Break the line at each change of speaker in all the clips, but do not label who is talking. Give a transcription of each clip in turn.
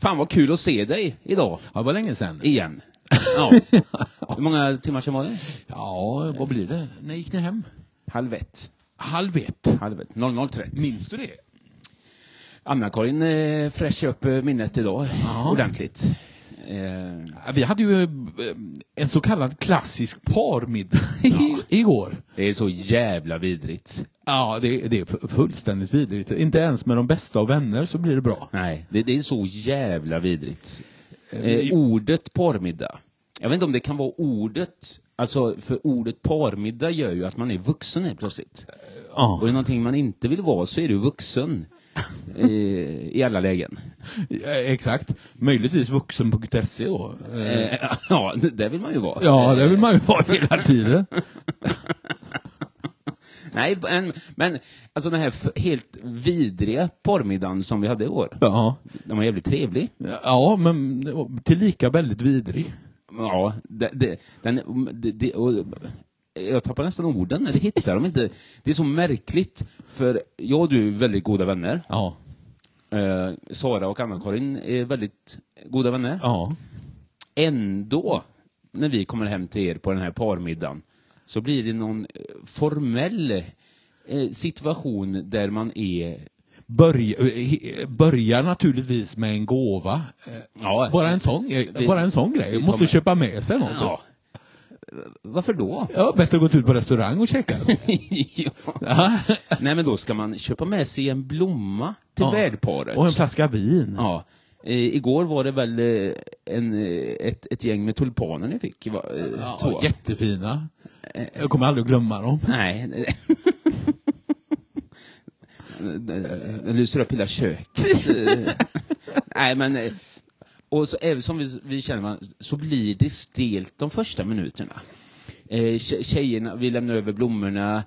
Fan vad kul att se dig idag,
Ja, det var länge sedan.
igen. Ja. Hur många timmar sedan var det?
Ja, vad blir det? När gick ni hem?
Halv ett.
Halv ett.
Halv ett. 00.30.
Minns du det?
Anna-Karin eh, fräschade upp eh, minnet idag
Ja.
ordentligt. Eh,
Ja, Vi hade ju eh, en så kallad klassisk parmiddag i igår.
det är så jävla vidrigt.
Ja, det, det är fu- fullständigt vidrigt. Inte ens med de bästa av vänner så blir det bra.
Nej, det, det är så jävla vidrigt. Eh, ordet parmiddag. Jag vet inte om det kan vara ordet, alltså för ordet parmiddag gör ju att man är vuxen helt plötsligt. Och är
Ja.
det någonting man inte vill vara så är du vuxen. eh, I alla lägen.
Eh, Exakt. Möjligtvis vuxen.se då. Eh,
Eh, ja, det vill man ju vara.
Ja, det vill man ju vara hela tiden.
Nej, men, men alltså den här f- helt vidriga porrmiddagen som vi hade i år,
Ja,
den var jävligt trevlig.
ja men tillika väldigt vidrig.
Ja, det, det, den, det, det, och, jag tappar nästan orden, eller hittar dem inte. Det är så märkligt, för jag och du är väldigt goda vänner.
Ja.
Eh, Sara och Anna-Karin är väldigt goda vänner.
Ja.
Ändå, när vi kommer hem till er på den här parmiddagen, så blir det någon eh, formell eh, situation där man är
Börja, eh, börjar naturligtvis med en gåva. Eh,
Ja.
Bara en sån, eh,
Vi-
bara en sån grej.
tar
Måste
med.
köpa med sig något.
Ja. Varför då?
Ja, bättre gått ut på restaurang och käkat.
ja. Nej men då ska man köpa med sig en blomma till
Ja.
värdparet.
och en flaska vin.
Ja. Eh, igår var det väl eh, en, eh, ett, ett gäng med tulpaner ni fick? Va? Eh, två.
jättefina. Eh, Jag kommer aldrig att glömma dem.
Nej. Nu lyser upp hela köket. Eh, Nej men, eh, och så, även som vi, vi känner varandra, så blir det stelt de första minuterna. Eh, tje- tjejerna, vi lämnar över blommorna,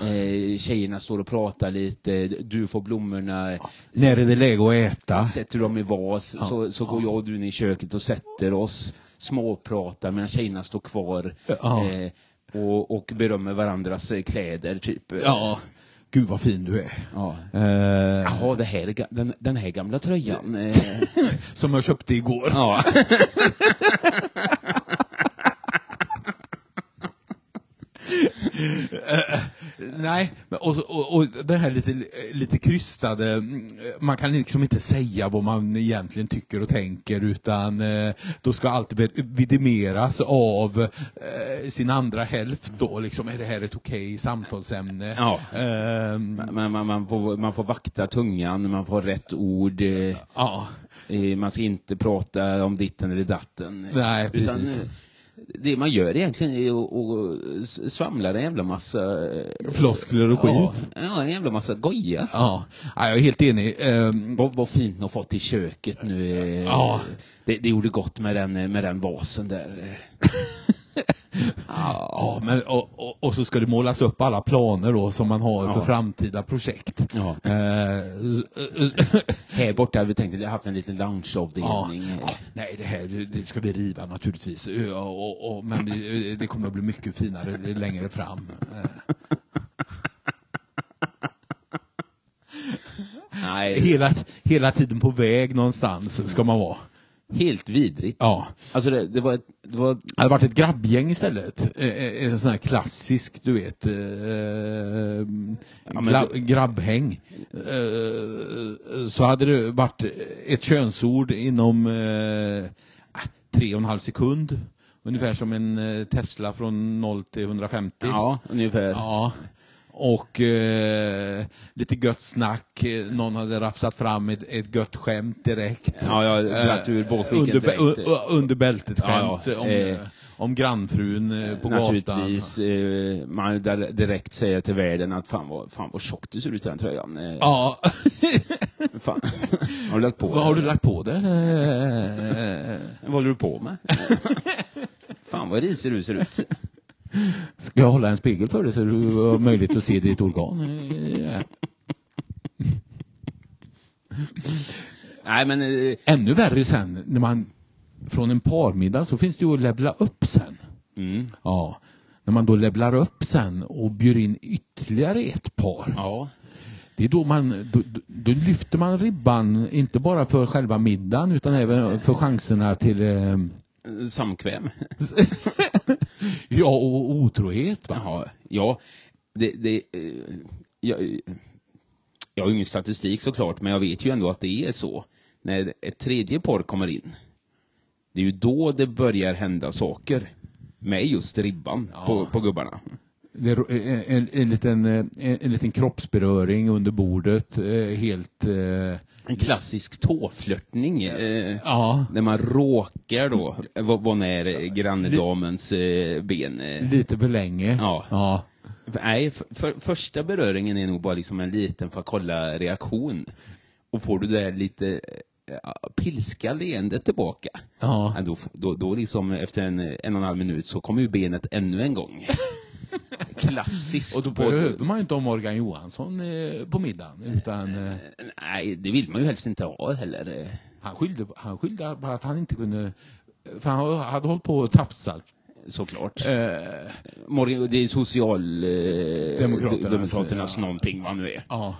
eh, tjejerna står och pratar lite, du får blommorna,
När är det läge att äta?
sätter dem i vas, så, så går jag och du in i köket och sätter oss, småpratar medan tjejerna står kvar
Ja.
eh, och, och berömmer varandras eh, kläder, typ.
Ja. Gud vad fin du är.
Ja.
Eh,
Jaha, det här, är ga- den, den här gamla tröjan. Eh,
som jag köpte igår.
ja.
Nej, men och, och, och det här lite, lite krystade, mm, man kan liksom inte säga vad man egentligen tycker och tänker utan eh, då ska allt vid- vidimeras av eh, sin andra hälft då, liksom är det här ett okej samtalsämne?
Ja.
Ehm,
Man, man, man, får, man får vakta tungan, man får rätt ord. Eh,
ja.
eh, man ska inte prata om ditten eller datten.
Nej, precis.
eh, det man gör egentligen är att att s- svamla en jävla massa eh,
Floskler och skit.
Ja,
Ja.
ja, en jävla massa goja.
Ja. jag är helt enig. Ehm,
Vad, vad fint ni har fått i köket nu. eh.
Ja.
Det, det gjorde gott med den, eh, med den vasen där.
Ja, men, och, och, och så ska det målas upp alla planer då som man har för
Ja.
framtida projekt.
Ja.
Eh,
Här borta hade vi tänkt att vi haft en liten lunchavdelning.
Ja, nej, det här det- det ska vi riva naturligtvis. Ja, Och, och, men vi, det kommer att bli mycket finare längre fram. Eh,
Nej,
Eh, Hela, hela tiden på väg någonstans ska man vara.
helt vidrigt.
Ja.
Alltså det, det var, ett- det var
Det hade varit ett grabbgäng istället. Eh, eh, En sån här klassisk, du vet, eh, eh,
men
gra-
du-
grabbhäng. Eh, Så hade det varit ett könsord inom eh, ah, tre och en halv sekund. Ungefär som en eh, Tesla från 0 till 150.
ja, ungefär.
Ja. Och eh, lite gött snack, Eh, någon hade rafsat fram ett, ett gött skämt direkt.
Ja, jag glatt ur båtskicket
under,
direkt.
u- u- under bältet
Ja,
skämt
ja.
om,
Eh,
om grannfrun eh, på gatan.
Naturligtvis, eh, man där direkt säger till världen att fan vad, fan vad tjock du ser ut i den tröjan. Eh,
Ja,
fan. har du lagt på
vad har du
dig?
lagt på dig? Eh,
Vad håller du på med? Fan vad risig du ser ut.
Ska jag hålla en spegel för dig så du har möjlighet att se ditt organ? Eh,
Nej men, eh,
Ännu värre sen, när man från en parmiddag så finns det ju att levla upp sen.
mm.
Ja. När man då levlar upp sen och bjuder in ytterligare ett par.
ja.
Det är då man, då, då, då lyfter man ribban, inte bara för själva middagen utan även för chanserna till eh,
Samkväm.
ja, och otrohet. Va?
Jaha, ja. Det, det, eh, jag, jag har ju ingen statistik såklart, men jag vet ju ändå att det är så. När ett tredje par kommer in, det är ju då det börjar hända saker med just ribban på, på gubbarna.
Det är eh, en, en, liten, eh, en, en liten kroppsberöring under bordet, eh, helt... Eh,
En klassisk tåflörtning. Eh,
ja,
När man råkar då eh, vara vara nära granndamens eh, ben. eh.
lite för länge.
Ja.
ja.
Nej, f- för, första beröringen är nog bara liksom en liten för att kolla reaktion. Och får du det där lite eh, ja, pilska leendet tillbaka,
Ja.
ja, då, f- då, då liksom efter en, en och en halv minut så kommer ju benet ännu en gång. Klassiskt.
Och då
på-
behöver man ju inte ha Morgan Johansson eh, på middagen utan eh,
Nej, det vill man ju helst inte ha heller. eh.
han skyllde, han skyllde på att han inte kunde, för han hade hållit på och tafsat.
Såklart. Eh. Morgan, det är
Demokraternas,
socialdemokraternas eh, demokraternas
ja.
någonting vad nu är.
Ja.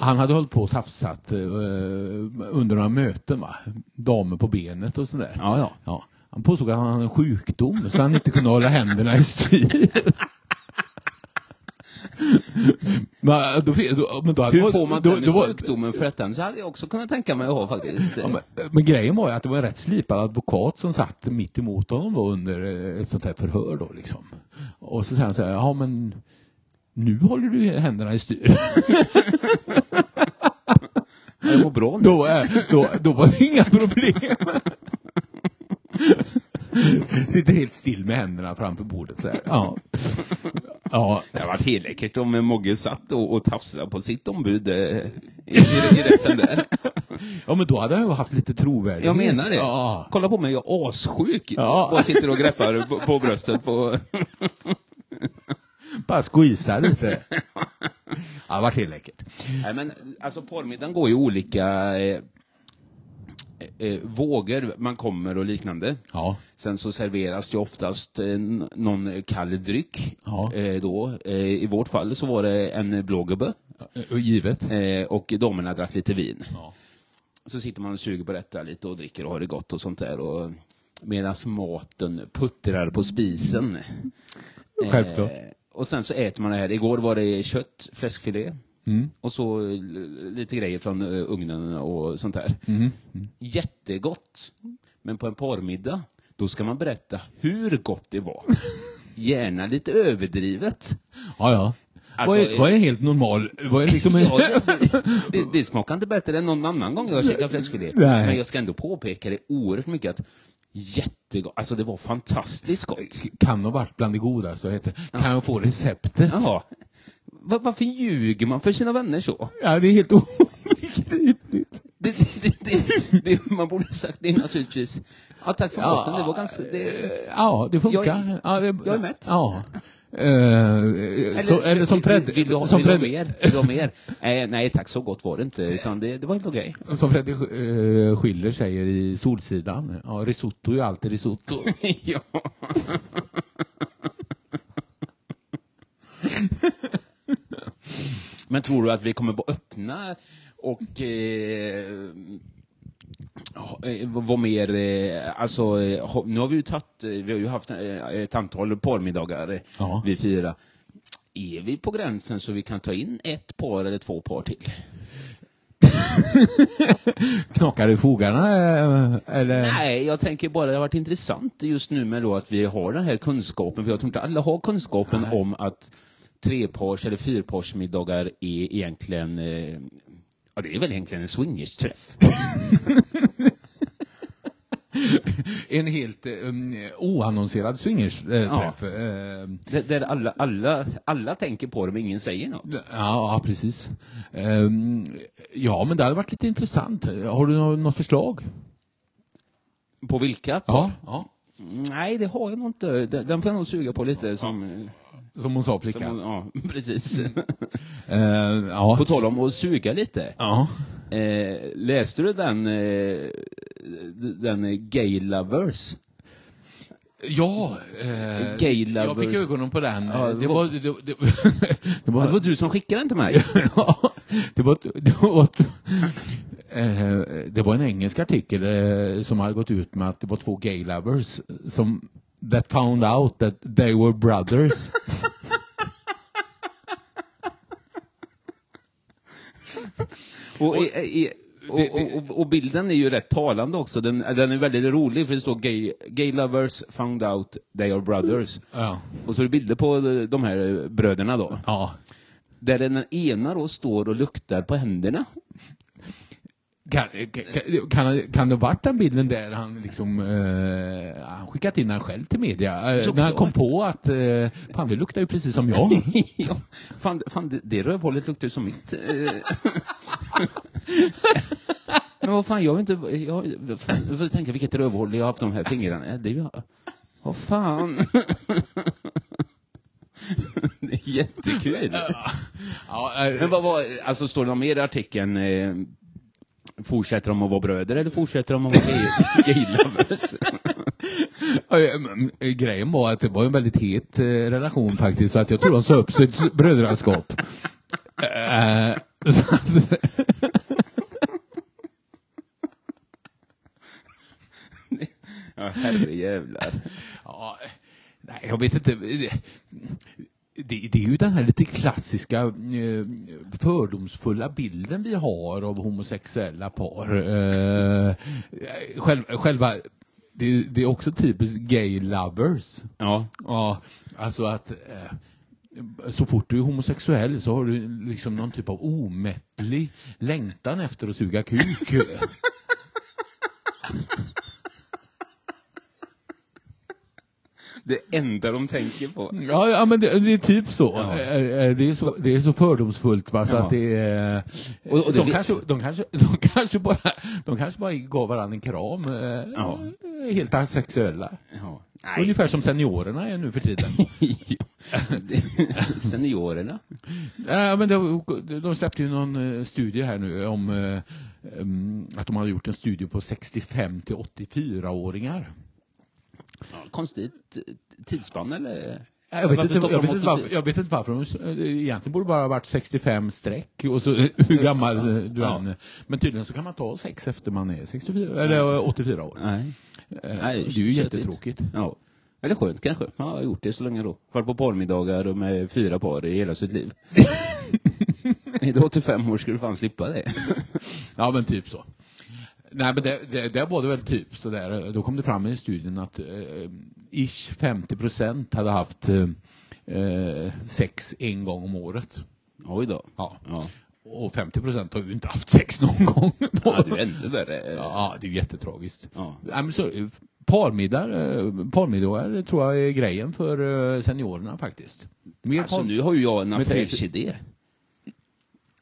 Han hade hållit på och tafsat eh, under några möten va, damer på benet och sådär.
Ja, ja.
Ja. Han påstod att han hade en sjukdom så han inte kunde hålla händerna i styr. Men då, då, men då hade-
Hur får man
då,
den
då var-
sjukdomen för detta? Så hade jag också kunnat tänka mig att ha faktiskt.
Ja, men, men grejen var ju att det var en rätt slipad advokat som satt mitt emot honom då under eh, ett sånt här förhör då liksom. Och så säger han så här, ja men nu håller du händerna i styr.
Det går bra nu.
Då, eh, då, då var det inga problem. Sitter helt still med händerna framför bordet så här. Ja. Ja,
Det hade varit helt läckert om eh, Mogge satt och, och tafsade på sitt ombud eh, i, i rätten där.
ja men då hade jag ju haft lite trovärdighet.
Jag menar det.
Ja.
Kolla på mig, jag är assjuk
Ja.
och sitter och greppar på, på bröstet på...
Bara squeeza lite. Ja, det var helt läckert.
Nej men alltså porrmiddagen går ju olika eh, eh, vågor man kommer och liknande.
Ja.
Sen så serveras det oftast eh, n- någon kall dryck.
Ja.
Eh, då. Eh, I vårt fall så var det en blå gubbe
Och givet.
eh, och damerna drack lite vin.
Ja.
Så sitter man och suger på detta lite och dricker och har det gott och sånt där. Och medan maten puttrar på spisen.
Självklart.
Eh, och sen så äter man det här. Igår var det kött, fläskfilé. Och så eh, lite grejer från eh, ugnen och sånt där.
Mhm.
Jättegott. Men på en parmiddag, då ska man berätta hur gott det var. Gärna lite överdrivet.
Ja, ja.
Alltså,
vad, är, vad är helt normal? Vad är liksom en...
Ja, det, det, det smakar inte bättre än någon annan gång jag har käkat fläskfilé.
Nej.
Men jag ska ändå påpeka det oerhört mycket att jättegott, alltså det var fantastiskt gott.
Kan ha varit bland det goda, så heter det. Kan jag få receptet?
Jaha. Va- Varför ljuger man för sina vänner så?
Ja, det är helt obegripligt.
Det, det, det, det, det man borde sagt det är naturligtvis, ja tack för
Ja.
maten, det var ganska, det,
Eh, Ja, det funkar.
Jag är-
ja, det,
jag är mätt.
Ja. Eller, så, eller som Fred,
vill, vill du ha,
som
vill du ha
Fred,
mer? Vill du ha mer? Nej, nej tack, så gott var det inte, utan det, det var helt okej.
som Fred eh, Schiller säger i Solsidan. Ja, risotto är ju alltid risotto.
ja. Men tror du att vi kommer vara öppna och eh, ha- eh, vara mer, eh, alltså, eh, ha- nu har vi ju tagit, eh, vi har ju haft eh, ett antal parmiddagar, eh,
Ja.
vi fyra. Är vi på gränsen så vi kan ta in ett par eller två par till?
Knakar i fogarna eh, eller?
Nej, jag tänker bara det har varit intressant just nu med då att vi har den här kunskapen, för jag tror inte alla har kunskapen om att trepars eller fyrparsmiddagar är egentligen, eh, ja det är väl egentligen en swingersträff.
En helt eh, um, oannonserad swingersträff. Eh,
Där- Där alla, alla, alla tänker på det men ingen säger något.
Ja, ja, precis. Ehm, ja, men det hade varit lite intressant. Har du nå- något förslag?
På vilka?
Ja. ja.
Nej, det har jag nog inte. Den den får jag nog suga på lite som,
Som hon sa,
som
flickan.
ja precis.
Ehm, ja.
På tal om att suga lite.
ja.
Eh, läste du den, eh, den Gay Lovers?
Ja, eh,
Gay
jag fick
lovers.
ögonen på den.
Ja,
det,
det
var,
var-
det, det, det
Ja,
var,
det var du som skickade den till mig.
Ja, det var, det var, eh, det var en engelsk artikel eh, som hade gått ut med att det var två gay lovers som that found out that they were brothers.
Och, i- i- och, och, och, och bilden är ju rätt talande också. Den, den är väldigt rolig för det står gay, gay lovers found out they are brothers.
ja.
Och så är det bilder på de här bröderna då.
ja.
Där den ena då står och luktar på händerna.
Kan, kan, kan, kan det ha varit den bilden där han liksom eh, han skickat in den själv till media? Eh,
Såklart.
när han kom på att eh, fan det luktar ju precis som jag.
ja, fan, fan det, det rövhålet luktar ju som mitt. eh. Men vad fan, jag vet inte, jag, fan, jag får tänka vilket rövhål jag har haft de här fingrarna. Det är ju, vad fan. det är jättekul.
ja, eh,
Men vad var, alltså står det något mer i artikeln? Eh, fortsätter de att vara bröder eller fortsätter de att vara gay- gay lovers?
Ja, ja, men, eh, Grejen var att det var en väldigt het eh, relation faktiskt, så att jag tror de sa upp sitt brödraskap. Eh, så att-
Ja, herrejävlar.
ja, nej, jag vet inte. Det, det är ju den här lite klassiska eh, fördomsfulla bilden vi har av homosexuella par. Eh, själva, själva det, det är också typiskt gay lovers.
Ja.
Ja, alltså att eh, så fort du är homosexuell så har du liksom någon typ av omättlig längtan efter att suga kuk.
Det enda de tänker på.
Ja, ja men det, det är typ så.
Ja.
Eh, eh, Det, är så det är så fördomsfullt va, så
Ja.
att det är...
Och- och det
de,
blir-
kanske, de, kanske, de, kanske bara, de kanske bara gav varandra en kram. eh,
Ja.
eh, Helt asexuella.
Ja.
Ungefär som seniorerna är nu för tiden.
Ja. Det- Seniorerna.
Ja, men det, de släppte ju någon eh, studie här nu om eh, em, att de hade gjort en studie på 65 till 84-åringar.
Ja, konstigt eh, tidsspann eller?
Jag vet,
Varför
inte,
stoppar
jag,
de
vet inte
84?
varför, jag vet inte varför. de- eh, Egentligen borde det bara ha varit 65 streck och så hur gammal eh, du
Ja.
än är. Men tydligen så kan man ta sex efter man är 64,
Mm.
eller eh, 84 år.
Nej.
Eh,
Nej,
Det är ju
tjötigt.
jättetråkigt.
Ja. Eller skönt kanske. Ja, jag har gjort det så länge då. Varit på parmiddagar och med fyra par i hela sitt liv. Är du 85 år skulle du fan slippa det.
Ja, men typ så. Nej, men det, det, där var det väl typ så där. Då kom det fram i studien att eh, ish 50 procent hade haft eh, eh, sex en gång om året.
Oj då.
Ja.
Ja.
Och 50 procent har ju inte haft sex någon gång. Då.
Ja, det är ju ännu värre.
Ja, det är ju jättetragiskt.
Ja.
Nej, men så, eh, parmiddagar, eh, parmiddagar tror jag är grejen för eh, seniorerna faktiskt. Mer
Alltså
par-
nu har ju jag en
Men det-
affärsidé.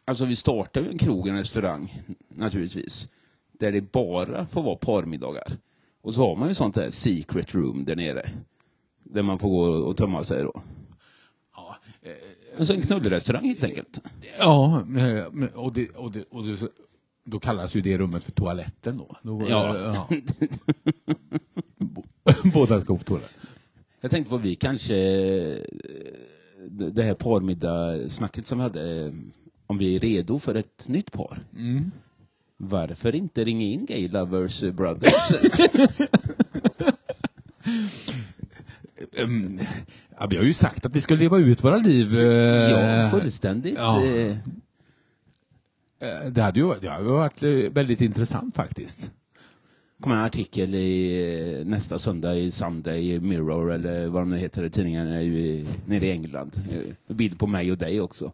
Alltså vi startar ju en krog, en restaurang naturligtvis. Där det bara får vara parmiddagar. Och så har man ju sånt där secret room där nere. Där man får gå och tömma sig då.
ja,
Alltså en knullrestaurang helt enkelt.
Ja, eh, men- och, det, och, det, och det, då kallas ju det rummet för toaletten då. då eh,
Ja.
Bo- Båda ska på toaletten.
Jag tänkte på vi kanske, eh, det det här parmiddagssnacket som vi hade, eh, om vi är redo för ett nytt par.
Mm.
Varför inte ringa in Gay Lovers Brothers?
Ehm, ja, vi har ju sagt att vi ska leva ut våra liv. eh,
ja, fullständigt.
ja.
eh,
eh, det hade ju det hade ju varit eh, väldigt intressant faktiskt.
kommer en artikel i, eh, nästa söndag i Sunday Mirror eller vad de nu heter, tidningarna är ju i- nere i England. Eh, Bild på mig och dig också.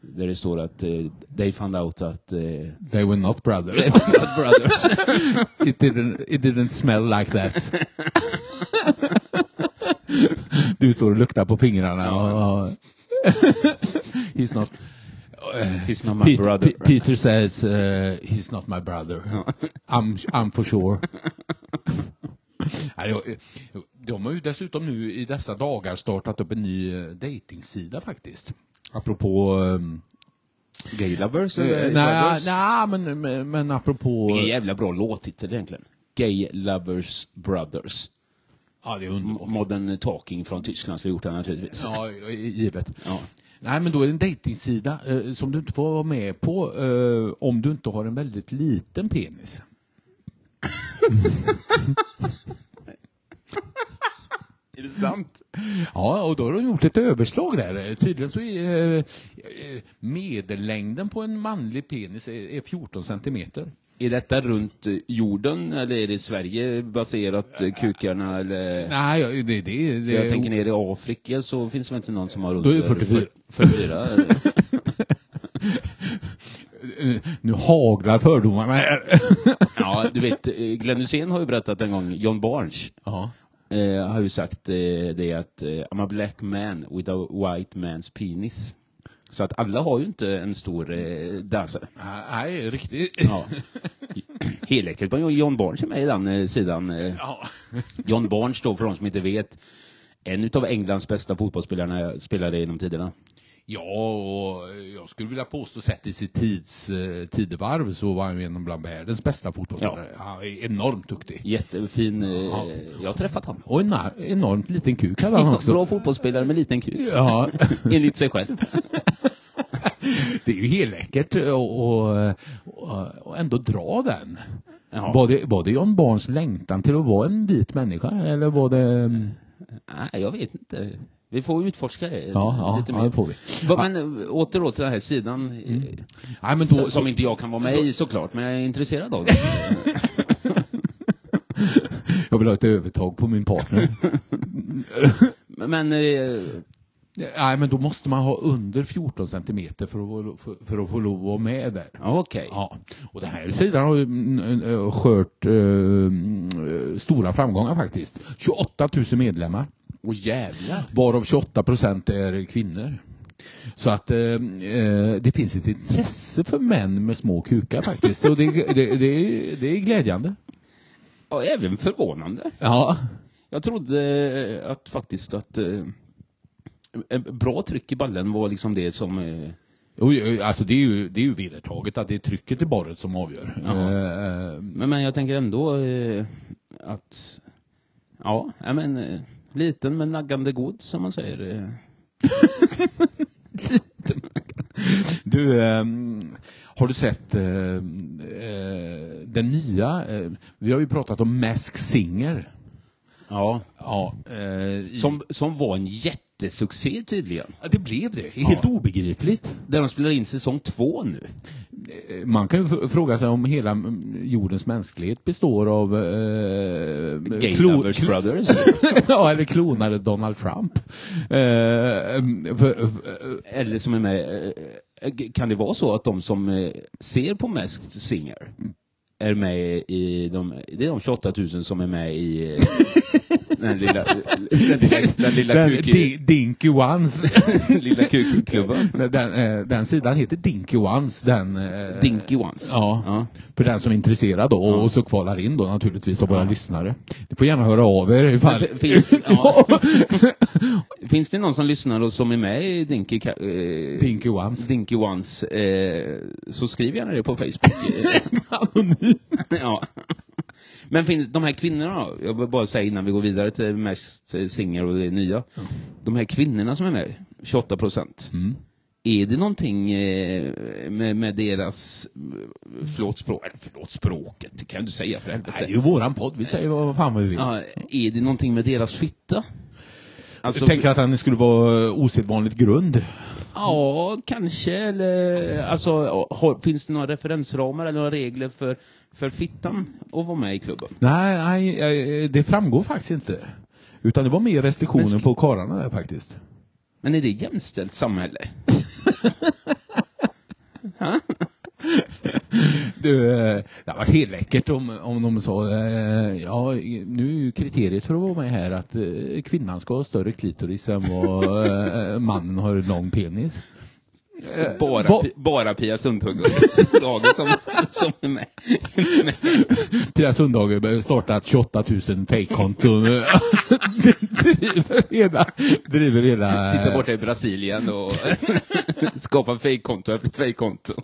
Där det står att eh, they found out att eh,
They were not brothers.
they found out brothers.
it, didn't, it didn't smell like that. du står och luktar på fingrarna. Och, he's not...
He's not my
Peter,
brother.
Pe- Peter says eh, he's not my brother. I'm, I'm for sure. Nej, jag- De har ju dessutom nu i dessa dagar startat upp en ny eh, dejtingsida faktiskt. Apropå... ehm,
Gay Lovers eller
eh, Nej,
Brothers?
nej, men, men, men apropå...
Vilken jävla bra låttitel egentligen. Gay Lovers Brothers.
Ja, det är
Mo-
underbart.
Modern Talking från Tyskland skulle ha gjort det naturligtvis.
Ja, i- givet.
Ja.
Nej, men då är det en dejtingsida eh, som du inte får vara med på eh, om du inte har en väldigt liten penis.
Är det sant?
Ja, och då har de gjort ett överslag där. Eh, Tydligen så är eh, eh, medellängden på en manlig penis är, är 14 centimeter.
Är detta runt eh, jorden eller är det i Sverige baserat eh, kukarna eller?
Nej, jag- det, det, det,
För jag tänker ner i Afrika så finns det väl inte någon som har runt
Då är det 44.
44 eller?
Eh, Nu haglar fördomarna här.
Ja, du vet, eh, Glenn Hysén har ju berättat en gång, John Barnes
ja.
eh, har ju sagt eh, det att eh, I'm a black man with a white man's penis. Så att alla har ju inte en stor eh, dasse.
Nej, riktigt.
Ja. Helläckert på John Barnes är med i den eh, sidan. Eh.
Ja.
John Barnes då, för de som inte vet, en utav Englands bästa fotbollsspelare spelare genom tiderna.
Ja, och jag skulle vilja påstå sett i sitt tids, eh, tidevarv så var han ju en av bland världens bästa fotbollsspelare. Han är enormt duktig.
Jättefin, eh,
Ja.
jag har träffat honom.
Och en na- enormt liten kuk hade han också.
Bra fotbollsspelare med liten kuk,
Ja,
enligt sig själv.
det är ju helläckert och, och, och, och ändå dra den.
Ja.
Var, det, var det John Barnes längtan till att vara en vit människa eller var det... mm,
Nej, jag vet inte. Vi får utforska det
Ja,
lite
ja, ja
mer.
det får vi.
Va, men eh, åter då till den här sidan, eh,
Nej, men
som,
då,
som inte jag kan vara med i såklart, men jag är intresserad av det.
jag vill ha ett övertag på min partner.
Men, eh,
Nej, men då måste man ha under 14 centimeter för att, få- för, för att få lov att vara med där.
ja, okej.
Ja, och den här sidan har ju mm, eh, skört eh, mm, eh, stora framgångar faktiskt. 28 000 medlemmar,
Åh jävlar.
varav 28 procent är kvinnor. Så att eh, eh, det finns ett intresse för män med små kukar faktiskt och det, det, det, är- det är glädjande.
Ja, även förvånande.
Ja,
Jag trodde eh, att faktiskt att eh, en bra tryck i ballen var liksom det som eh,
och, eh, alltså det är ju, det är ju vedertaget att det är trycket i borret som avgör. Eh, eh,
Men, men jag tänker ändå eh, att, ja, ja, men eh, liten men naggande god som man säger. Eh.
Du, ehm, har du sett ehm, eh, den nya? Eh, vi har ju pratat om Mask Singer.
Ja,
Ja, eh, som,
som, som var en jättesuccé tydligen.
det blev det. Helt obegripligt.
Där de spelar in säsong två nu.
Eh, Man kan ju f- fråga sig om hela mm, jordens mänsklighet består av eh,
Gay
klo-
Lovers
klo-
Brothers.
ja, eller klonade Donald Trump. Eh, mm, för, eh,
Eller som är med, eh, eh, kan det vara så att de som eh, ser på Masked Singer är med i de, det är de 28 000 som är med i eh, den lilla, den lilla, den lilla,
den,
kuk,
Di- Dinky Ones.
lilla kukklubben.
den, eh, den sidan heter Dinky Ones. Den, eh,
Dinky Ones.
Ja, för den som är intresserad då och så kvalar in då naturligtvis av våra lyssnare. Ni får gärna höra av er ifall...
F- fin- ja. Finns det någon som lyssnar och som är med i Dinky, Ka- eh,
Dinky Ones.
Dinky Ones eh, så skriv gärna det på Facebook. Eh, ja. Men finns de här kvinnorna då? Jag vill bara säga innan vi går vidare till mest eh, Singer och det nya. De här kvinnorna som är med, 28 procent. Är det någonting eh, med, med deras, eh, förlåt, språk, eller förlåt språket, det kan jag inte säga för helvete.
Det är ju våran podd, vi säger vad fan vi vill.
Ja, är det någonting med deras fitta? Alltså,
Jag tänker att den skulle vara osedvanligt grund.
Ja, kanske. Eller, alltså, har, finns det några referensramar eller några regler för, för fittan att vara med i klubben?
Nej, nej, eh, det framgår faktiskt inte. Utan det var mer restriktioner
Men sk-
på karlarna där faktiskt.
Men är det jämställt samhälle?
Du, eh, det hade varit helt läckert om, om de sa eh, ja, nu är ju kriteriet för att vara med här att eh, kvinnan ska ha större klitoris än vad eh, mannen har lång penis.
Bara,
ba-
Pi- bara Pia Sundhage och Dagen som, som är med.
Pia Sundhage har startat 28 000 fejkkonton. eh, driver hela... Driver hela
Sitter borta i Brasilien och skapar fejkkonto efter fejkkonto.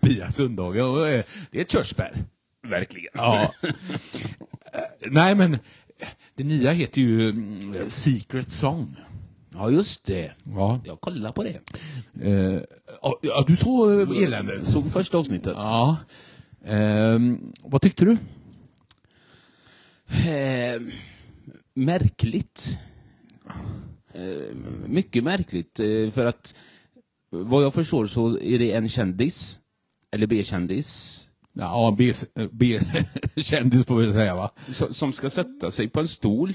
Pia Sundhage, och, eh, det är ett körsbär.
verkligen.
Ja. Eh, Nej men, det nya heter ju mm, Secret Song.
Ja, just det.
Ja.
Jag kollar på det.
Eh, ja, ja, du såg eh, eländet?
Såg första avsnittet.
Ja. Ehm, vad tyckte du?
Eh, märkligt. Eh, mycket märkligt. Eh, för att vad jag förstår så är det en kändis, eller B-kändis,
Ja, B- B-kändis får vi säga va?
so- som ska sätta sig på en stol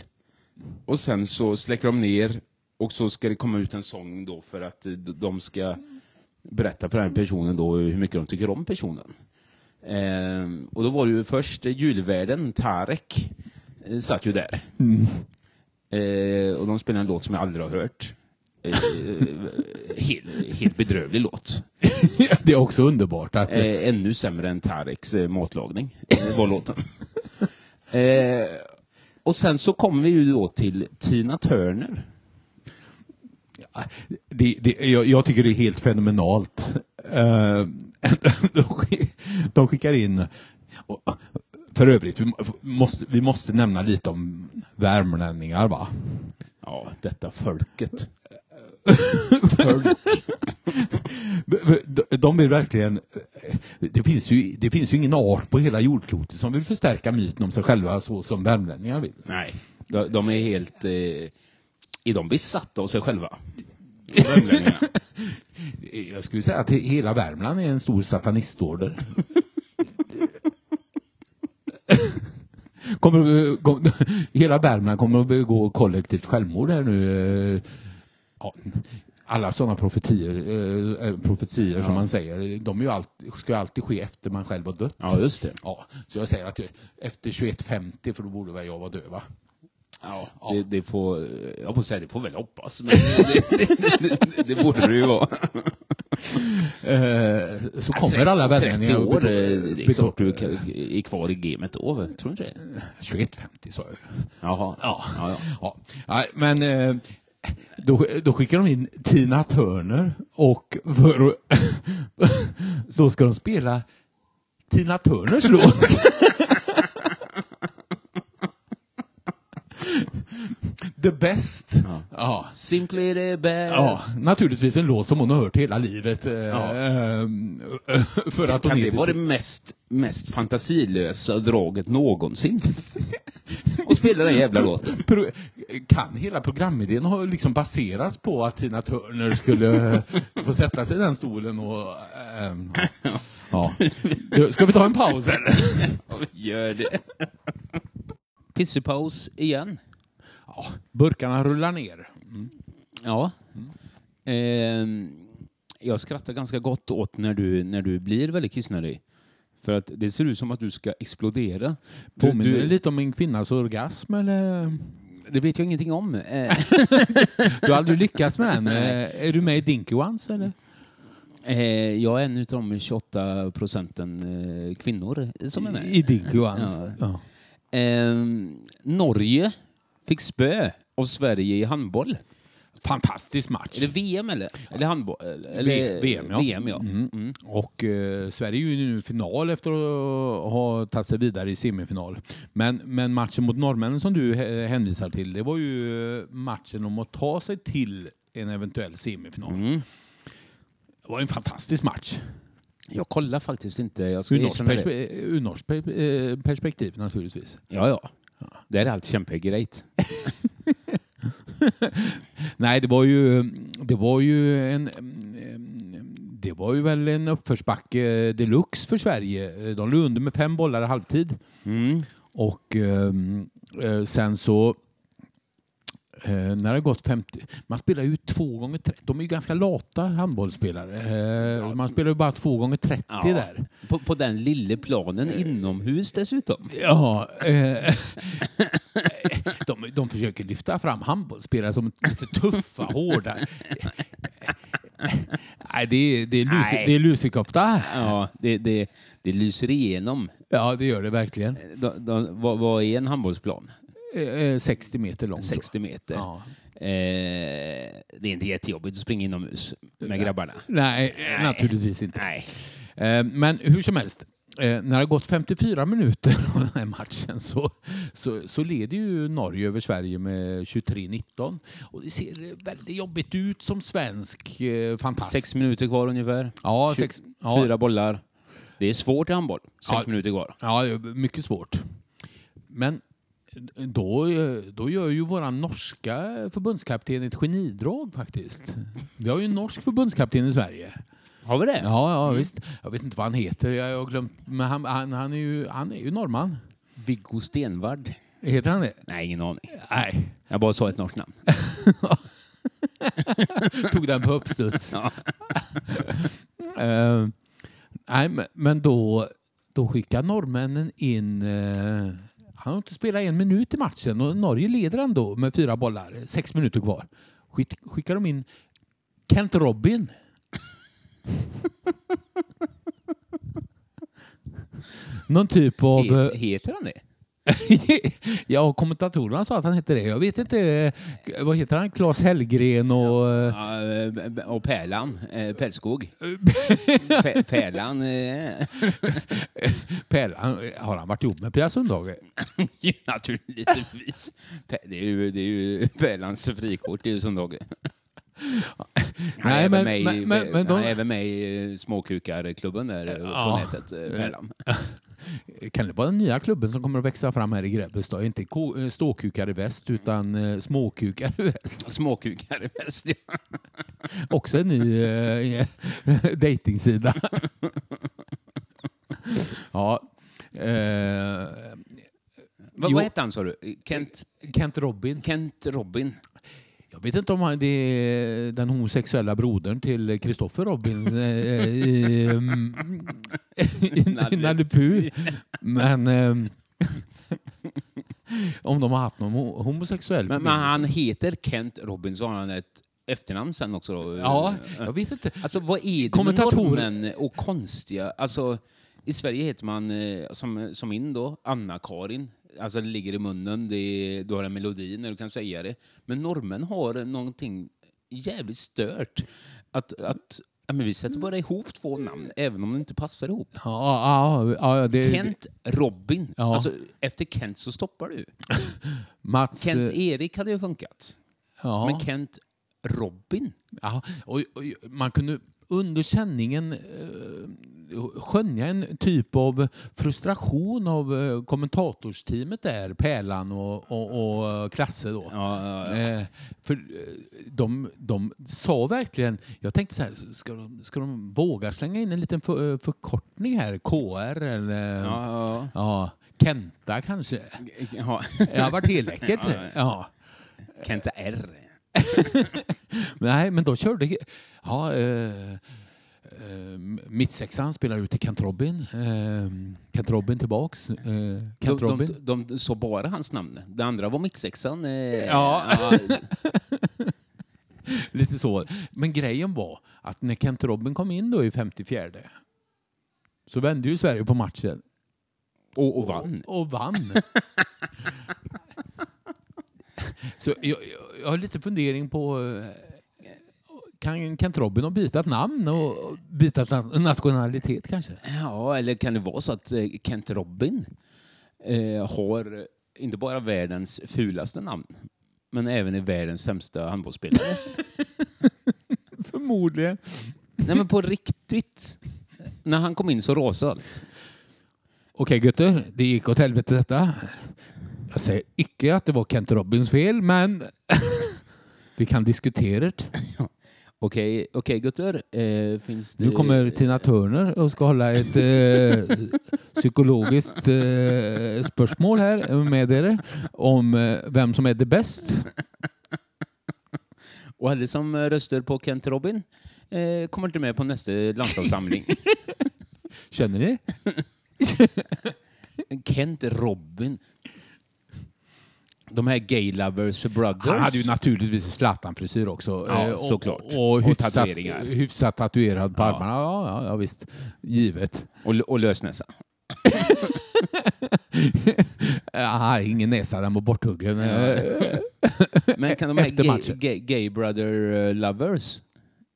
och sen så släcker de ner och så ska det komma ut en sång då för att eh, d- de ska berätta för den här personen då hur mycket de tycker om personen. Eh, och då var det ju först eh, julvärden Tarek eh, satt ju där. Eh, och de spelade en låt som jag aldrig har hört. Eh, helt, helt bedrövlig låt.
Det är också underbart att
Eh, ännu sämre än Tareks eh, matlagning, eh, var låten. eh, och sen så kommer vi ju då till Tina Turner.
det, det, jag, jag tycker det är helt fenomenalt. Eh, de skick- De skickar in, och- för övrigt, vi må- måste, vi måste nämna lite om värmlänningar va?
Ja, detta folket.
De- De vill verkligen, eh, det finns, ju, det finns ju ingen art på hela jordklotet som vill förstärka myten om sig själva så som värmlänningar vill.
Nej, de, de är helt... Eh, är de besatta av sig själva? Värmlänningarna.
Jag skulle säga att he- hela Värmland är en stor satanistorder. kommer, att be- kom, hela Värmland kommer att begå kollektivt självmord här nu. eh, Ja, alla sådana profetier, eh, eh, profetier som man säger, de är ju allt, ska ju alltid ske efter man själv har dött.
ja, just det.
Ja, så jag säger att jag- efter 21.50, för då borde väl jag vara död va?
Ja, det, det får... eh, Jag får säga, det får väl hoppas, men det, det, det, det, det borde det ju vara.
Eh, så kommer alla värmlänningar
30
och
år,
beto-
eh, det är klart du
beto-
kan- är kvar i gamet då, va? tror du inte det?
21.50 sa jag ju.
Jaha.
Ja.
ja, ja.
Ja, nej, men eh, då, då skickar de in Tina Turner och för, att- så ska de spela Tina Turners låt. The best.
Ja.
Ja.
Simply the best.
Ja, naturligtvis en låt som hon har hört hela livet. eh, ehm, För att
Kan
hon
det
är- typ-
vara det mest, mest fantasilösa draget någonsin? Och spela den jävla låten.
Pro- Kan hela programidén ha liksom baserats på att Tina Turner skulle eh, få sätta sig i den stolen och... ehm, ja. Ja. Ska vi ta en paus eller?
Gör det. Pissepaus igen.
Ja, burkarna rullar ner.
Ja. Mm. Ehm, jag skrattar ganska gott åt när du, när du blir väldigt kissnödig. För att det ser ut som att du ska explodera. Du,
Påminner det
du,
lite om en kvinnas orgasm eller?
det vet jag ingenting om. Eh,
Du har aldrig lyckats med den. Eh, Är du med i Dinky Ones eller?
eh, jag är en utav de 28 procenten eh, kvinnor som är med.
I Dinky Ones.
Ja.
Ja.
Ehm, Norge fick spö av Sverige i handboll.
Fantastisk match.
Är det VM eller? Eller handboll? Eller,
V- VM, ja.
VM, ja.
Mm. Och eh, Sverige är ju nu i final efter att ha tagit sig vidare i semifinal. Men, men matchen mot norrmännen som du eh, hänvisar till, det var ju eh, matchen om att ta sig till en eventuell semifinal.
Mm.
Det var en fantastisk match.
Jag kollar faktiskt inte. Jag ska
Ur norskt
erkänna det.
perspe- eh, ur norskt per- eh, perspektiv naturligtvis.
Ja, ja. Där är allt kämpegrejt.
Nej, det var ju, det var ju en... mm, Det var ju väl en uppförsbacke eh, deluxe för Sverige. De låg under med fem bollar i halvtid.
Mm.
Och ehm, eh, sen så eh, när det har gått 50, man spelar ju två gånger 30, de är ju ganska lata handbollsspelare. Eh, Man spelar ju bara två gånger 30
Ja.
där.
På, på den lilla planen inomhus dessutom.
Ja, eh, de, de försöker lyfta fram handbollsspelare som lite tuffa, hårda. Nej, det är, det är, lusi,
Nej.
det är lusekopta.
Ja, det, det, det lyser igenom.
Ja, det gör det verkligen.
De, de, vad, vad är en handbollsplan?
Eh, eh, 60 meter långt.
60 meter.
Ja.
Eh, det är inte jättejobbigt att springa inomhus med grabbarna.
Nej, eh, naturligtvis inte.
Nej.
Eh, Men hur som helst, Eh, när det har gått 54 minuter av den här matchen så, så, så leder ju Norge över Sverige med 23-19. Och det ser väldigt jobbigt ut som svensk eh, fantastisk.
Sex minuter kvar ungefär.
ja,
Tju-
sex, ja,
Fyra bollar. Det är svårt i handboll. Sex
Ja.
minuter kvar.
Ja, det är mycket svårt. Men eh, då, eh, då gör ju våran norska förbundskapten ett genidrag faktiskt. Vi har ju en norsk förbundskapten i Sverige.
Har vi det?
Ja, ja
Mm.
visst. Jag vet inte vad han heter. Jag har glömt. Men han, han, han, är ju, han är ju norrman.
Viggo Stenvard.
Heter han det?
Nej, ingen aning.
Nej.
Jag bara sa ett norskt namn.
Tog den på uppstuds.
Ja.
Eh, nej, men- men då, då skickar norrmännen in... eh, han har inte spelat en minut i matchen och Norge leder ändå med fyra bollar, sex minuter kvar. Skick, skickar de in Kent Robin. Någon typ av... eh,
He- heter han det?
ja, kommentatorerna sa att han hette det. Jag vet inte. eh, Vad heter han? Claes Hellgren och... eh,
Ja, eh, och Pärlan. eh, Pärlskog. Pä- Pärlan. eh,
Per, han, har han varit ihop med Pia Sundhage?
Ja, naturligtvis. Pä- Det är ju, det är ju Pärlans frikort. Det är ju som dag. Han är
Nej,
även
men-
med i-
men- men- men
han
de-
är även med i eh, småkukarklubben där eh, på
Ja.
nätet, eh, Pärlan.
Kan det vara den nya klubben som kommer att växa fram här i Grebbestad? Inte ko- eh, ståkukar i väst, utan eh, småkukar i väst.
Småkukar i väst, ja.
Också en ny eh, dejtingsida. ja. Eh,
Vad,
Jo.
vad hette han sa du? Kent,
Kent Robin.
Kent Robin?
Jag vet inte om han, det är den homosexuella brodern till Kristoffer Robin eh, i, mm, i Nalle Puh. Men ehm, om de har haft någon ho- homosexuell
Men, men
förbindelse.
han heter Kent Robin, så har han ett efternamn sen också då?
Ja, jag vet inte.
Alltså vad är det med
Kommentatorer-
norrmän och konstiga... Alltså, I Sverige heter man, eh, som, som min då, Anna-Karin. Alltså det ligger i munnen, det är, du har en melodi när du kan säga det. Men norrmän har någonting jävligt stört. Att, att ja, men vi sätter bara ihop två namn, även om de inte passar ihop.
Ja, ja, ja, det,
Kent Robin.
Ja.
Alltså, efter Kent så stoppar du.
Mats, eh,
Kent-Erik hade ju funkat.
ja,
Men Kent Robin?
ja, och, och, man kunde under känningen eh, skönja en typ av frustration av eh, kommentatorsteamet där, Pärlan och, och, och Klasse då. Eh, för eh, de, de sa verkligen, jag tänkte så här, ska de, ska de våga slänga in en liten för, eh, förkortning här? KR eller ja.
Ja,
Kenta kanske?
ja, ja.
Det har varit helt läckert.
Ja, ja.
ja.
Kent R.
Nej, men då körde... Ja, eh, eh, mittsexan spelar ut till Kent Robin. Eh, Kent Robin tillbaks. Eh,
de,
Kent Robin.
de, de, såg bara hans namn. Det andra var mittsexan. Eh,
Ja. Lite så. Men grejen var att när Kent Robin kom in då i 54 så vände ju Sverige på matchen.
och, och vann.
Och vann. så jag, jag, jag har lite fundering på eh, kan Kent Robin ha bytt namn och och bytt na- nationalitet kanske?
Ja, eller kan det vara så att eh, Kent Robin eh, har inte bara världens fulaste namn, men även är världens sämsta handbollsspelare?
Förmodligen.
Nej, men på riktigt. När han kom in så rasade allt.
Okej gutter, det gick åt helvete detta. Jag säger icke att det var Kent Robins fel, men vi kan diskutera det.
Okej, okej Gutter. Eh, finns det...
Nu kommer Tina Turner och ska hålla ett eh, psykologiskt eh, spörsmål här med er om eh, vem som är det bäst.
Och alla som eh, röstar på Kent Robin eh, kommer inte med på nästa landslagssamling.
Känner ni?
Kent Robin. De här gay lovers brothers.
Han hade ju naturligtvis Zlatan-frisyr också.
Ja,
eh, och,
såklart.
Och, och,
Och
hyfsat,
tatueringar.
hyfsat tatuerad på
Ja.
armarna. Ja, ja, ja, visst. Givet.
och, och lösnäsa.
Ah, ingen näsa, den var borthuggen. Eh,
Men kan de här
Efter
gay,
matchen.
gay, gay brother eh, lovers,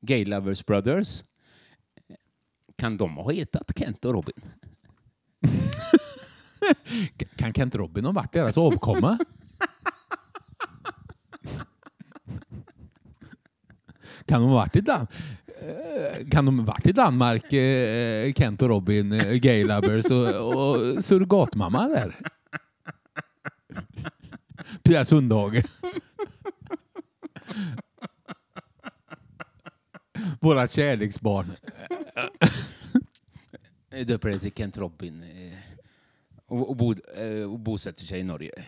gay lovers brothers, kan de ha hetat Kent och Robin?
Kan Kent Robin ha varit deras avkomma? Kan de ha varit i, Dan- eh, kan de ha varit i Danmark, eh, Kent och Robin, eh, gay lovers och, och surrogatmamma där? Pia Sundhage. Vårat kärleksbarn.
Jag Eh, döper det till Kent Robin eh, och, och, bod, eh, och bosätter sig i Norge.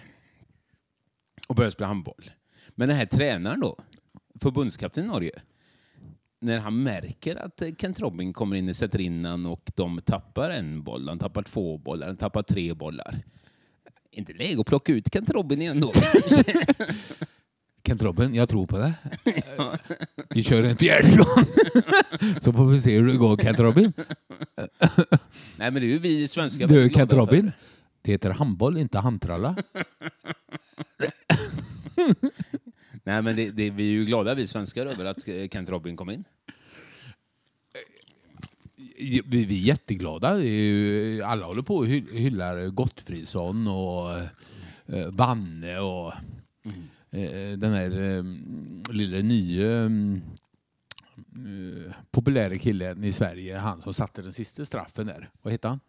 Och börjar spela handboll. Men den här tränaren då, förbundskapten i Norge, när han märker att eh, Kent Robin kommer in och sätter in han och de tappar en boll, han tappar två bollar, han tappar tre bollar. Inte läge att plocka ut Kent Robin igen då.
Kent Robin, jag tror på det. Vi kör en fjärde gång. Så får vi se hur det går Kent Robin.
Nej men det är ju vi svenskar
Du
väldigt
Kent
glada för.
Robin, det heter handboll, inte handtralla.
Nej men det, det, vi är ju glada vi svenskar över att eh, Kent Robin kom in.
Vi vi är jätteglada. Det är ju- Alla håller på och hy- hyllar Gottfridsson och eh, Vanne och eh, den här eh, lille nye mm, eh, populära killen i Sverige, han som satte den sista straffen där. Vad heter han?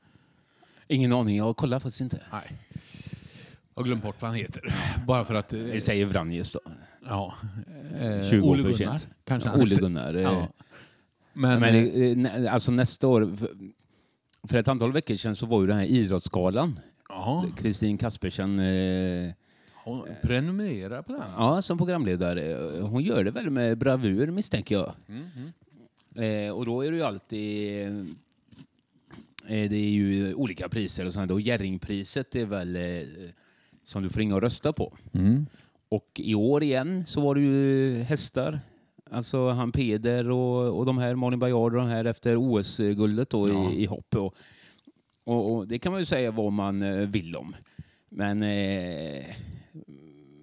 Ingen aning, jag kollar faktiskt inte.
Nej. Jag har glömt bort vad han heter. Bara för att... eh,
Vi säger Vranjes då.
Ja. Eh,
20 år
Ole
för
Gunnar,
sent.
kanske.
Ja, Ole Gunnar. eh,
Ja. Men,
Men,
eh,
eh, nä- alltså nästa år, för- för ett antal veckor sedan så var ju den här idrottsgalan,
ja,
Kristin Kaspersen, eh,
hon prenumererar på den.
ja, som programledare, Eh, hon gör det väl med bravur misstänker jag.
Mm,
Eh, och då är det ju alltid, eh, det är ju olika priser och sånt och Jerringpriset är väl eh, som du får ringa och rösta på.
Mm.
Och i år igen så var det ju hästar. Alltså han Peder och, och de här, Malin Baryard och de här efter OS-guldet då
Ja.
i, i hopp. Och, och, och det kan man ju säga vad man eh, vill om. Men, eh,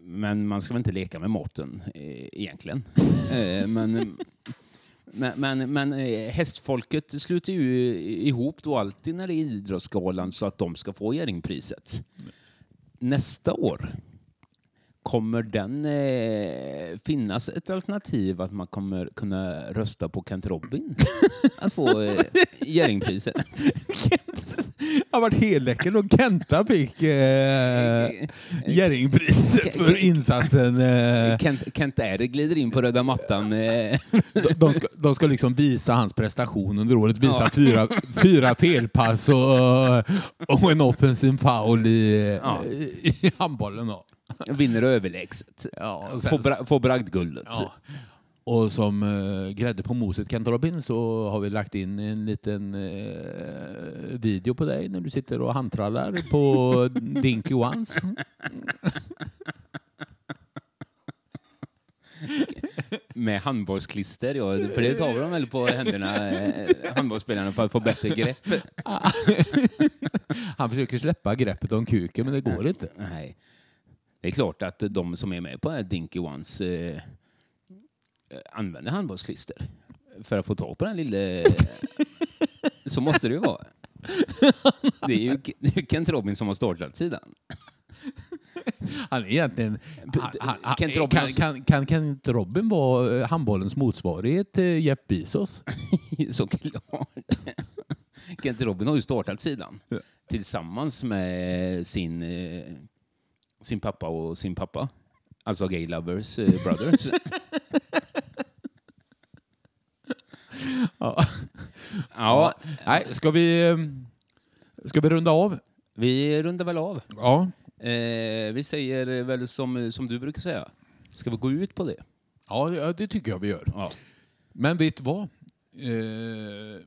men man ska väl inte leka med maten eh, egentligen. eh, men, men, men, men eh, hästfolket sluter ju ihop då alltid när det är Idrottsgalan så att de ska få Jerringpriset. Nästa år Kommer den eh, finnas ett alternativ att man kommer kunna rösta på Kent Robin? Att få eh, Jerringpriset?
Jag har varit helläcker och Kenta fick eh, Jerringpriset för insatsen. Eh,
Kent, Kent Ere glider in på röda mattan. Eh,
de- de, ska, de ska liksom visa hans prestation under året. Visa
Ja.
fyra, fyra felpass och, och en offensiv foul i,
Ja.
i, i handbollen. Då.
vinner överlägset.
Ja, och
Får,
sen,
bra, får bragdguldet.
Ja. Och som eh, grädde på moset Kent Robin så har vi lagt in en liten eh, video på dig när du sitter och handtrallar på Dinky Ones.
Med handbollsklister, ja. För det tar de väl på händerna, eh, handbollsspelarna, för att få bättre grepp.
Han försöker släppa greppet om kuken men det går inte.
Nej. Det är klart att de som är med på den här Dinky Ones eh, eh, använder handbollsklister för att få tag på den lille... Så måste det ju vara. Det är ju det är ju Kent Robin som har startat sidan.
Han är egentligen... Han, han, han,
Kent
kan,
Robin-
kan, kan, kan Kent Robin vara eh, handbollens motsvarighet till Jeff Bezos?
Så klart. Kent Robin har ju startat sidan
Ja.
tillsammans med sin, eh, sin pappa och sin pappa. Alltså Gay Lovers eh, Brothers.
Ja.
Ja,
Nej, ska vi... eh, Ska vi runda av?
vi rundar väl av.
Ja.
Eh, vi säger väl som, som du brukar säga. Ska vi gå ut på det?
Ja, det- det tycker jag vi gör.
Ja.
Men vet du vad? Eh,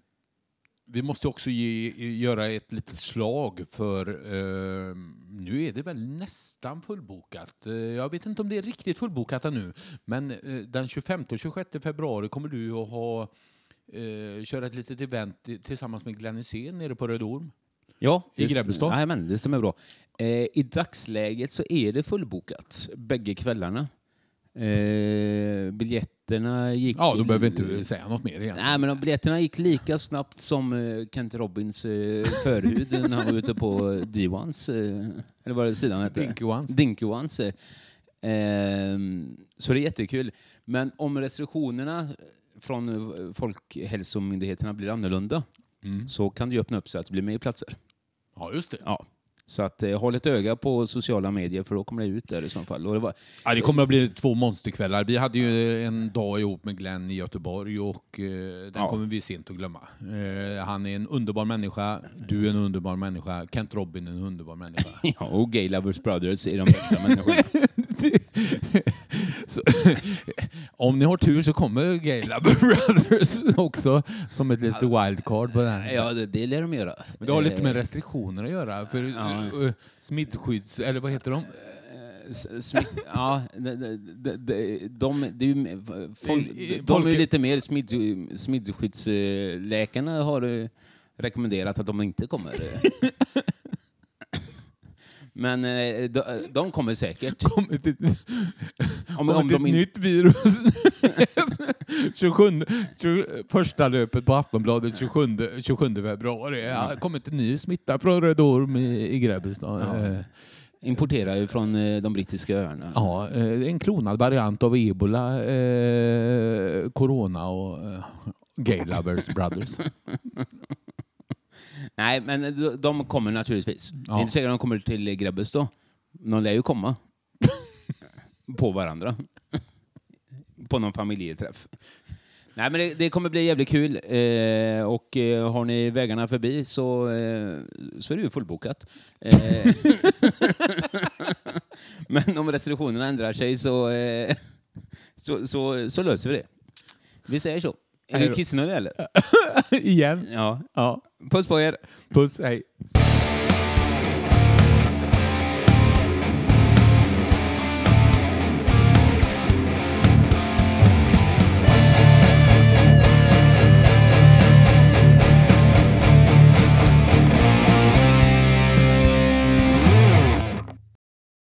vi måste också ge, eh, göra ett litet slag för eh, nu är det väl nästan fullbokat. Eh, jag vet inte om det är riktigt fullbokat ännu, men eh, den 25 och 26 februari kommer du att ha eh, köra ett litet event i- tillsammans med Glenn Hysén nere på Röd Orm.
ja
I Grebbestad?
Jajamän, det stämmer bra. Eh, I dagsläget så är det fullbokat bägge kvällarna. Eh, biljetterna gick...
Ja, då behöver vi inte säga något mer egentligen.
Nej, men de- biljetterna gick lika snabbt som eh, Kent Robbins eh, förhud när han var ute på eh, D1s, eh, eller vad det sidan hette?
Dinky Ones.
Dinky Ones. eh. Ehm, så det är jättekul. Men om restriktionerna från eh, Folkhälsomyndigheterna blir annorlunda
Mm.
så kan det ju öppna upp sig att det blir mer platser.
Ja, just det.
Ja. Så att eh, håll ett öga på sociala medier för då kommer det ut där i så fall. Och det var,
Ja, det kommer att bli två monsterkvällar. Vi hade ju en dag ihop med Glenn i Göteborg och eh, den
Ja.
kommer vi sent att glömma. Eh, han är en underbar människa, du är en underbar människa, Kent Robin är en underbar människa.
ja, och Gay Lovers Brothers är de bästa människorna.
så, om ni har tur så kommer Gaila Brothers också som ett litet wildcard på den här.
Ja, det, det lär de göra.
Men det har lite
Eh,
med restriktioner att göra, för
Ja.
eh, smittskydds... Eller vad heter de?
Eh, S- smitt, ja, de, de, de, de, de, det är ju med- folk,
I- i-
de är ju
folket-
lite mer smitt, smittskyddsläkarna har eh, rekommenderat att de inte kommer. eh. Men eh, de, de kommer säkert.
Kommit ett,
Om,
kommit
om de
ett
in,
nytt virus. 27, 20, första löpet på Aftonbladet 27, 27 februari. Ja,
Mm.
det kommit en ny smitta från Röde Orm i, i Grebbestad. Eh,
importerar ju från eh, de brittiska öarna.
Ja, eh, en klonad variant av ebola, eh, corona och eh, gay lovers brothers.
Nej, men de- de kommer naturligtvis. Det
Ja.
är inte säkert att de kommer till Grebbes då. De lär ju komma. på varandra. på någon familjeträff. Nej, men det, det kommer bli jävligt kul. Eh, och eh, har ni vägarna förbi så, eh, så är det ju fullbokat. Eh, men om restriktionerna ändrar sig så, eh, så, så, så löser vi det. Vi säger så. Är du kissnödig eller?
Igen.
Ja.
Ja,
Puss på er!
puss, hej.